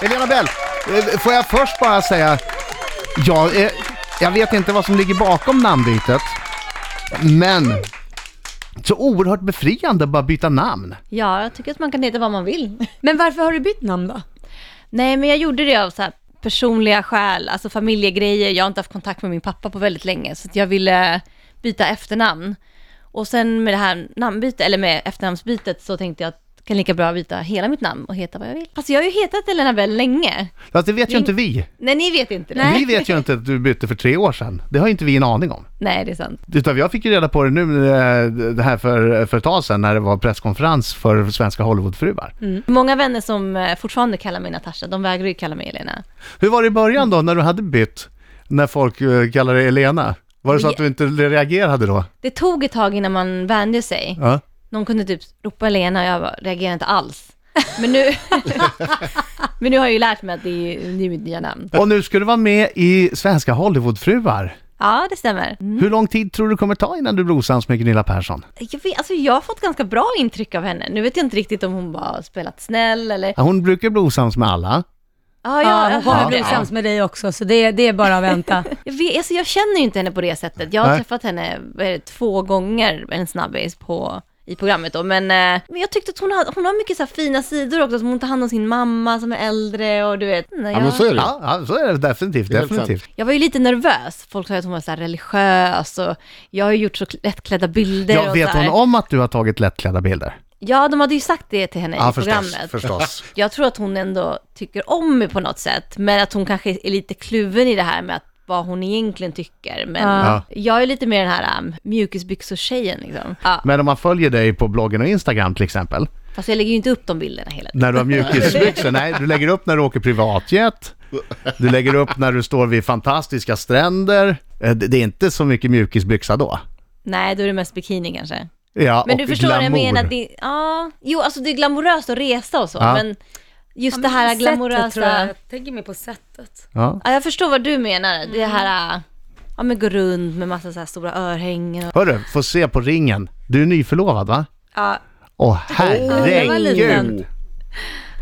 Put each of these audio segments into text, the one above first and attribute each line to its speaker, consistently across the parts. Speaker 1: Helena Bell, eh, får jag först bara säga, jag, eh, jag vet inte vad som ligger bakom namnbytet, men så oerhört befriande att bara byta namn.
Speaker 2: Ja, jag tycker att man kan heta vad man vill.
Speaker 3: Men varför har du bytt namn då?
Speaker 2: Nej, men jag gjorde det av så här personliga skäl, alltså familjegrejer. Jag har inte haft kontakt med min pappa på väldigt länge, så att jag ville byta efternamn. Och sen med det här namnbytet, eller med efternamnsbytet, så tänkte jag att jag kan lika bra byta hela mitt namn och heta vad jag vill. Alltså jag har ju hetat Elena Bell länge.
Speaker 1: Fast det vet ju inte vi.
Speaker 2: Nej, ni vet inte det.
Speaker 1: Vi vet ju inte att du bytte för tre år sedan. Det har ju inte vi en aning om.
Speaker 2: Nej, det är sant.
Speaker 1: Utan jag fick ju reda på det nu, eh, det här för, för ett tag sedan när det var presskonferens för svenska Hollywoodfruar.
Speaker 3: Mm.
Speaker 2: Många vänner som eh, fortfarande kallar mig Natasha, de vägrar ju kalla mig Elena.
Speaker 1: Hur var det i början då när du hade bytt, när folk eh, kallade dig Elena? Var det så att du inte reagerade då?
Speaker 2: Det tog ett tag innan man vände sig.
Speaker 1: Ja.
Speaker 2: Någon kunde typ ropa Elena och jag bara, reagerade inte alls. Men nu, men nu har jag ju lärt mig att det är, ju- det är mitt nya namn.
Speaker 1: Och nu ska du vara med i svenska Hollywoodfruar.
Speaker 2: Ja, det stämmer. Mm,
Speaker 4: Mm.
Speaker 1: Hur lång tid tror du det kommer ta innan du blir osams med Gunilla Persson?
Speaker 2: Jag, vet, alltså, jag har fått ganska bra intryck av henne. Nu vet jag inte riktigt om hon bara har spelat snäll eller...
Speaker 1: Ja, Hon brukar bli osams med alla.
Speaker 2: Ah,
Speaker 3: Ja, hon kommer
Speaker 2: jag,
Speaker 3: bli osams med dig också, så det, det är bara att vänta.
Speaker 2: jag, vet, alltså, jag känner ju inte henne på det sättet. Jag har
Speaker 1: Nej.
Speaker 2: träffat henne vad är det, två gånger, en snabbis, på, i programmet då. Men, eh, men jag tyckte att hon, hade, hon har mycket så här fina sidor också, som hon tar hand om sin mamma som är äldre och du vet.
Speaker 4: Ja, men så är det ju.
Speaker 1: Ja, ja så är det definitivt.
Speaker 4: Det är helt
Speaker 1: definitivt.
Speaker 2: Jag var ju lite nervös. Folk sa att hon var så här religiös och jag har ju gjort så lättklädda bilder.
Speaker 1: Jag
Speaker 2: och
Speaker 1: vet
Speaker 2: så här.
Speaker 1: hon om att du har tagit lättklädda bilder?
Speaker 2: Ja, de hade ju sagt det till henne i
Speaker 1: förstås.
Speaker 2: programmet.
Speaker 1: förstås.
Speaker 2: Jag tror att hon ändå tycker om mig på något sätt, men att hon kanske är lite kluven i det här med att vad hon egentligen tycker. Men
Speaker 1: Ja.
Speaker 2: jag är lite mer den här um, mjukisbyxor-tjejen liksom. Ja,
Speaker 1: Men om man följer dig på bloggen och Instagram till exempel,
Speaker 2: fast jag lägger ju inte upp de bilderna hela tiden.
Speaker 1: när du har mjukisbyxor, nej, du lägger upp när du åker privatjet, du lägger upp när du står vid fantastiska stränder. Eh, Det det är inte så mycket mjukisbyxa då.
Speaker 2: Nej, då är det mest bikini kanske.
Speaker 1: Ja,
Speaker 2: Men
Speaker 1: och
Speaker 2: du förstår
Speaker 1: glamour.
Speaker 2: vad jag menar? Det, ja, jo, alltså det är glamoröst att resa och så,
Speaker 1: Ja.
Speaker 2: men just det här
Speaker 3: Sättet,
Speaker 2: glamorösa...
Speaker 3: tror jag. Jag tänker mer på sättet.
Speaker 1: Ja.
Speaker 2: Ja, jag förstår vad du menar. Det här, äh, ja men gå runt med massa så här stora örhängen och...
Speaker 1: Hörru, få se på ringen. Du är nyförlovad va?
Speaker 2: Ja.
Speaker 1: Åh
Speaker 3: det var liten.
Speaker 1: herregud!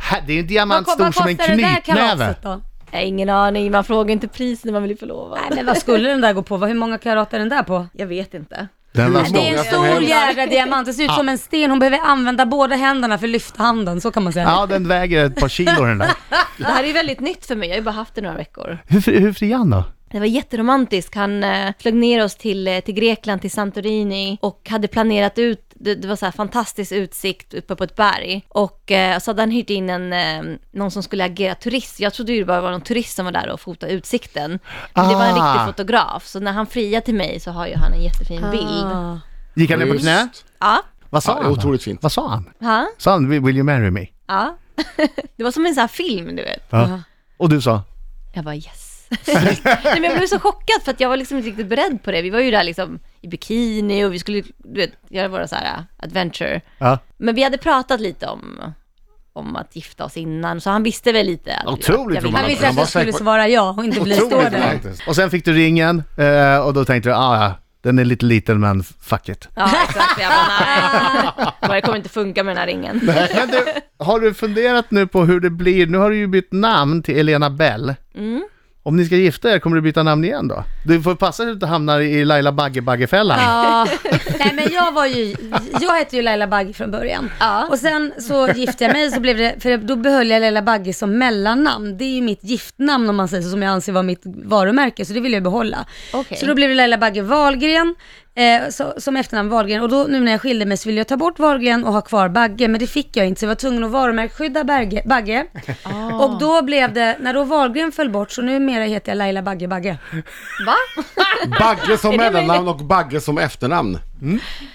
Speaker 1: Här- Det är en diamant stor som en knytnäve.
Speaker 3: då?
Speaker 2: Jag har ingen aning, man frågar inte pris när man blir förlovad.
Speaker 3: Nej, men vad skulle den där gå på? Vad- Hur många karat är den där på?
Speaker 2: Jag vet inte.
Speaker 1: Den var
Speaker 4: Hur
Speaker 1: stor.
Speaker 3: Det är en
Speaker 4: Många
Speaker 3: stor
Speaker 4: som helst.
Speaker 3: jädra diamant, det ser ut som en sten. Hon behöver använda båda händerna för att lyfta handen, så kan man säga.
Speaker 1: Ja, den väger ett par kilo den där.
Speaker 2: Det här är väldigt nytt för mig, jag har ju bara haft det några veckor.
Speaker 1: Hur, fri- hur fri är han då?
Speaker 2: Det var jätteromantiskt, han eh, flög ner oss till, eh, till Grekland, till Santorini och hade planerat ut, det, det var så här fantastisk utsikt uppe på ett berg. Och eh, så hade han hyrt in en, eh, någon som skulle agera turist. Jag trodde ju det bara var någon turist som var där och fotade utsikten. Men det var en
Speaker 1: Ah.
Speaker 2: riktig fotograf, så när han friar till mig så har ju han en jättefin bild.
Speaker 3: Ah.
Speaker 1: Gick han ner på
Speaker 4: Just.
Speaker 1: knä?
Speaker 2: Ja,
Speaker 1: Vad sa
Speaker 4: Ja, det är
Speaker 1: han? då?
Speaker 4: otroligt fint.
Speaker 1: Vad sa han?
Speaker 2: ja,
Speaker 1: Sa han "Will- “Will you marry me”?
Speaker 2: ja. Det var som en sån här film, du vet.
Speaker 1: Ja. Och du sa?
Speaker 2: Jag bara yes. Nej, men jag blev så chockad för att jag var liksom inte riktigt beredd på det. Vi var ju där liksom i bikini och vi skulle du vet, göra våra så här äh, adventure.
Speaker 1: Ja.
Speaker 2: Men vi hade pratat lite om, om att gifta oss innan, så han visste väl lite att
Speaker 1: Otroligt
Speaker 2: jag, jag
Speaker 1: romantiskt.
Speaker 3: Han visste att
Speaker 1: var
Speaker 3: du skulle
Speaker 1: säker på-
Speaker 3: svara ja och inte bli
Speaker 1: Otroligt
Speaker 3: stående.
Speaker 1: romantiskt. Och sen fick du ringen eh, och då tänkte du ah, ja, den är lite liten men fuck it.
Speaker 2: Ja, exakt. Jag bara, nej. Jag bara, Det kommer inte funka med den här ringen.
Speaker 1: Men du, har du funderat nu på hur det blir? Nu har du ju bytt namn till Elena Bell.
Speaker 3: Mm.
Speaker 1: Om ni ska gifta er, kommer du byta namn igen då? Du får passa dig att du hamnar i Laila Bagge-Bagge-fällan.
Speaker 3: Ja, nej men jag var ju, jag hette ju Laila Bagge från början.
Speaker 2: Ja.
Speaker 3: Och sen så gifte jag mig så blev det, för då behöll jag Laila Bagge som mellannamn. Det är ju mitt giftnamn om man säger så, som jag anser var mitt varumärke, så det vill jag behålla.
Speaker 2: Okej.
Speaker 3: Så då blev det Laila Bagge Wahlgren, eh, så, som efternamn Wahlgren. Och då nu när jag skilde mig så ville jag ta bort Wahlgren och ha kvar Bagge, men det fick jag inte, så jag var tvungen att varumärkesskydda Bagge. bagge.
Speaker 2: Ah.
Speaker 3: Och då blev det, när då Wahlgren föll bort, så numera heter jag Laila Bagge Bagge.
Speaker 2: Va?
Speaker 4: Bagge som mellannamn och Bagge som efternamn.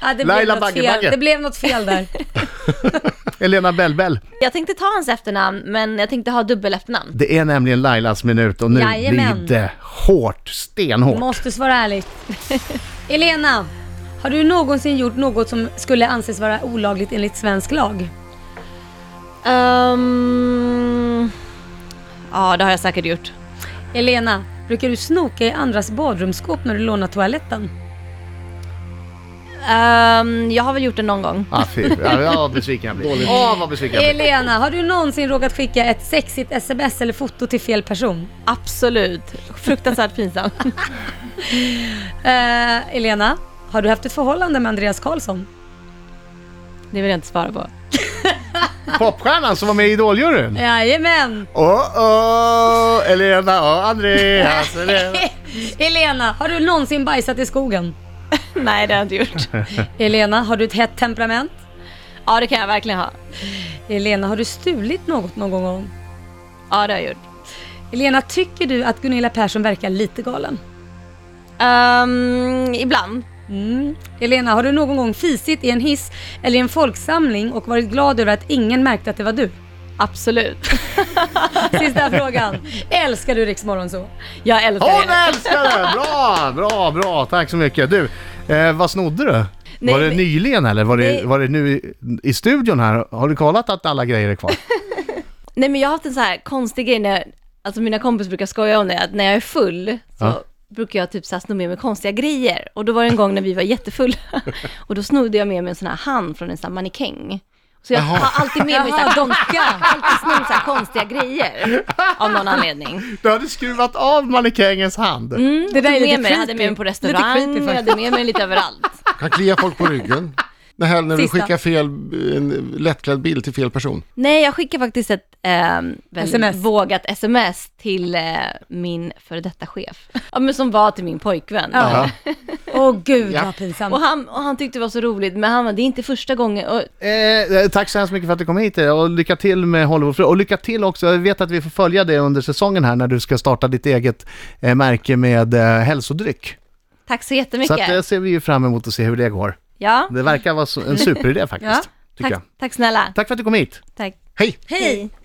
Speaker 3: Ja, det,
Speaker 1: Laila
Speaker 3: blev något
Speaker 1: Bagge
Speaker 3: fel.
Speaker 1: Bagge.
Speaker 3: det blev något fel där.
Speaker 1: Elena Bell-Bell.
Speaker 2: Jag tänkte ta hans efternamn, men jag tänkte ha dubbel efternamn.
Speaker 1: Det är nämligen Lailas minut och nu
Speaker 3: Jajamän.
Speaker 1: blir det hårt, stenhårt.
Speaker 3: Måste svara ärligt. Elena, har du någonsin gjort något som skulle anses vara olagligt enligt svensk lag?
Speaker 2: Ehm, ja, det har jag säkert gjort.
Speaker 3: Elena, brukar du snoka i andras badrumsskåp när du lånar toaletten?
Speaker 2: Ehm, jag har väl gjort det någon gång.
Speaker 1: Ah, fy. Ja, ja, vad besviken jag blir. Åh, vad besviken jag blir.
Speaker 3: Elena, har du någonsin råkat skicka ett sexigt sms eller foto till fel person?
Speaker 2: Absolut. Fruktansvärt pinsamt.
Speaker 3: Eh, Elena, har du haft ett förhållande med Andreas Karlsson?
Speaker 2: Det vill jag inte svara på.
Speaker 1: Popstjärnan som var med i Idoljuryn.
Speaker 3: Jajamän!
Speaker 1: Åh, åh, Elena och Andreas. Elena.
Speaker 3: Elena, har du någonsin bajsat i skogen?
Speaker 2: Nej, det har jag inte gjort.
Speaker 3: Elena, har du ett hett temperament?
Speaker 2: Ja, det kan jag verkligen ha.
Speaker 3: Elena, har du stulit något någon gång?
Speaker 2: Ja, det har jag gjort.
Speaker 3: Elena, tycker du att Gunilla Persson verkar lite galen?
Speaker 2: Ehm, ibland.
Speaker 3: Mm. Elena, har du någon gång fisit i en hiss eller i en folksamling och varit glad över att ingen märkte att det var du?
Speaker 2: Absolut.
Speaker 3: Sista frågan. Älskar du Rix så?
Speaker 2: Jag älskar
Speaker 1: Hon
Speaker 2: det.
Speaker 1: älskar det! Bra, bra, bra. Tack så mycket. Du, eh, vad snodde du?
Speaker 2: Nej,
Speaker 1: var det
Speaker 2: men-
Speaker 1: nyligen eller var det,
Speaker 2: Nej.
Speaker 1: var det nu i, i studion här? Har du kollat att alla grejer är kvar?
Speaker 2: Nej men jag har haft en så här konstig grej när, alltså mina kompisar brukar skoja om det, att när jag är full så
Speaker 1: Ja.
Speaker 2: brukar jag typ så här sno med mig konstiga grejer. Och då var det en gång när vi var jättefulla och då snodde jag med mig en sån här hand från en sån här mannekäng. Så jag har alltid med mig så här donka, alltid snor så här konstiga grejer av någon anledning.
Speaker 1: Du hade skruvat av mannekängens hand.
Speaker 2: Mm, det
Speaker 3: där är
Speaker 2: tog
Speaker 3: lite
Speaker 2: med mig, jag hade med
Speaker 3: creepy.
Speaker 2: mig på
Speaker 3: Lite
Speaker 2: restaurang,
Speaker 3: creepy
Speaker 2: jag hade med mig lite överallt.
Speaker 4: Kan klia folk på ryggen. Det här när du
Speaker 3: Sista.
Speaker 4: skickar fel, eh, en lättklädd bild till fel person.
Speaker 2: Nej, jag skickade faktiskt ett ehm, väldigt
Speaker 3: SMS.
Speaker 2: vågat sms till eh, min före detta chef. Ja, men som var till min pojkvän.
Speaker 3: Ja. Åh gud
Speaker 4: Ja.
Speaker 3: vad pinsamt.
Speaker 2: Och han, och han tyckte det var så roligt, men han var det är inte första gången. Och,
Speaker 1: Eh, eh, tack så hemskt mycket för att du kom hit eh, och lycka till med Hollywoodfru. Och lycka till också, jag vet att vi får följa dig under säsongen här när du ska starta ditt eget eh, märke med eh, hälsodryck.
Speaker 2: tack så
Speaker 1: Så att,
Speaker 2: jättemycket.
Speaker 1: det ser vi ju fram emot att se hur det går.
Speaker 2: ja,
Speaker 1: Det verkar vara så- en superidé faktiskt,
Speaker 3: Ja,
Speaker 1: tycker
Speaker 2: tack,
Speaker 1: jag.
Speaker 2: tack snälla.
Speaker 1: Tack för att du kom hit.
Speaker 2: Tack.
Speaker 4: Hej!
Speaker 3: Hej!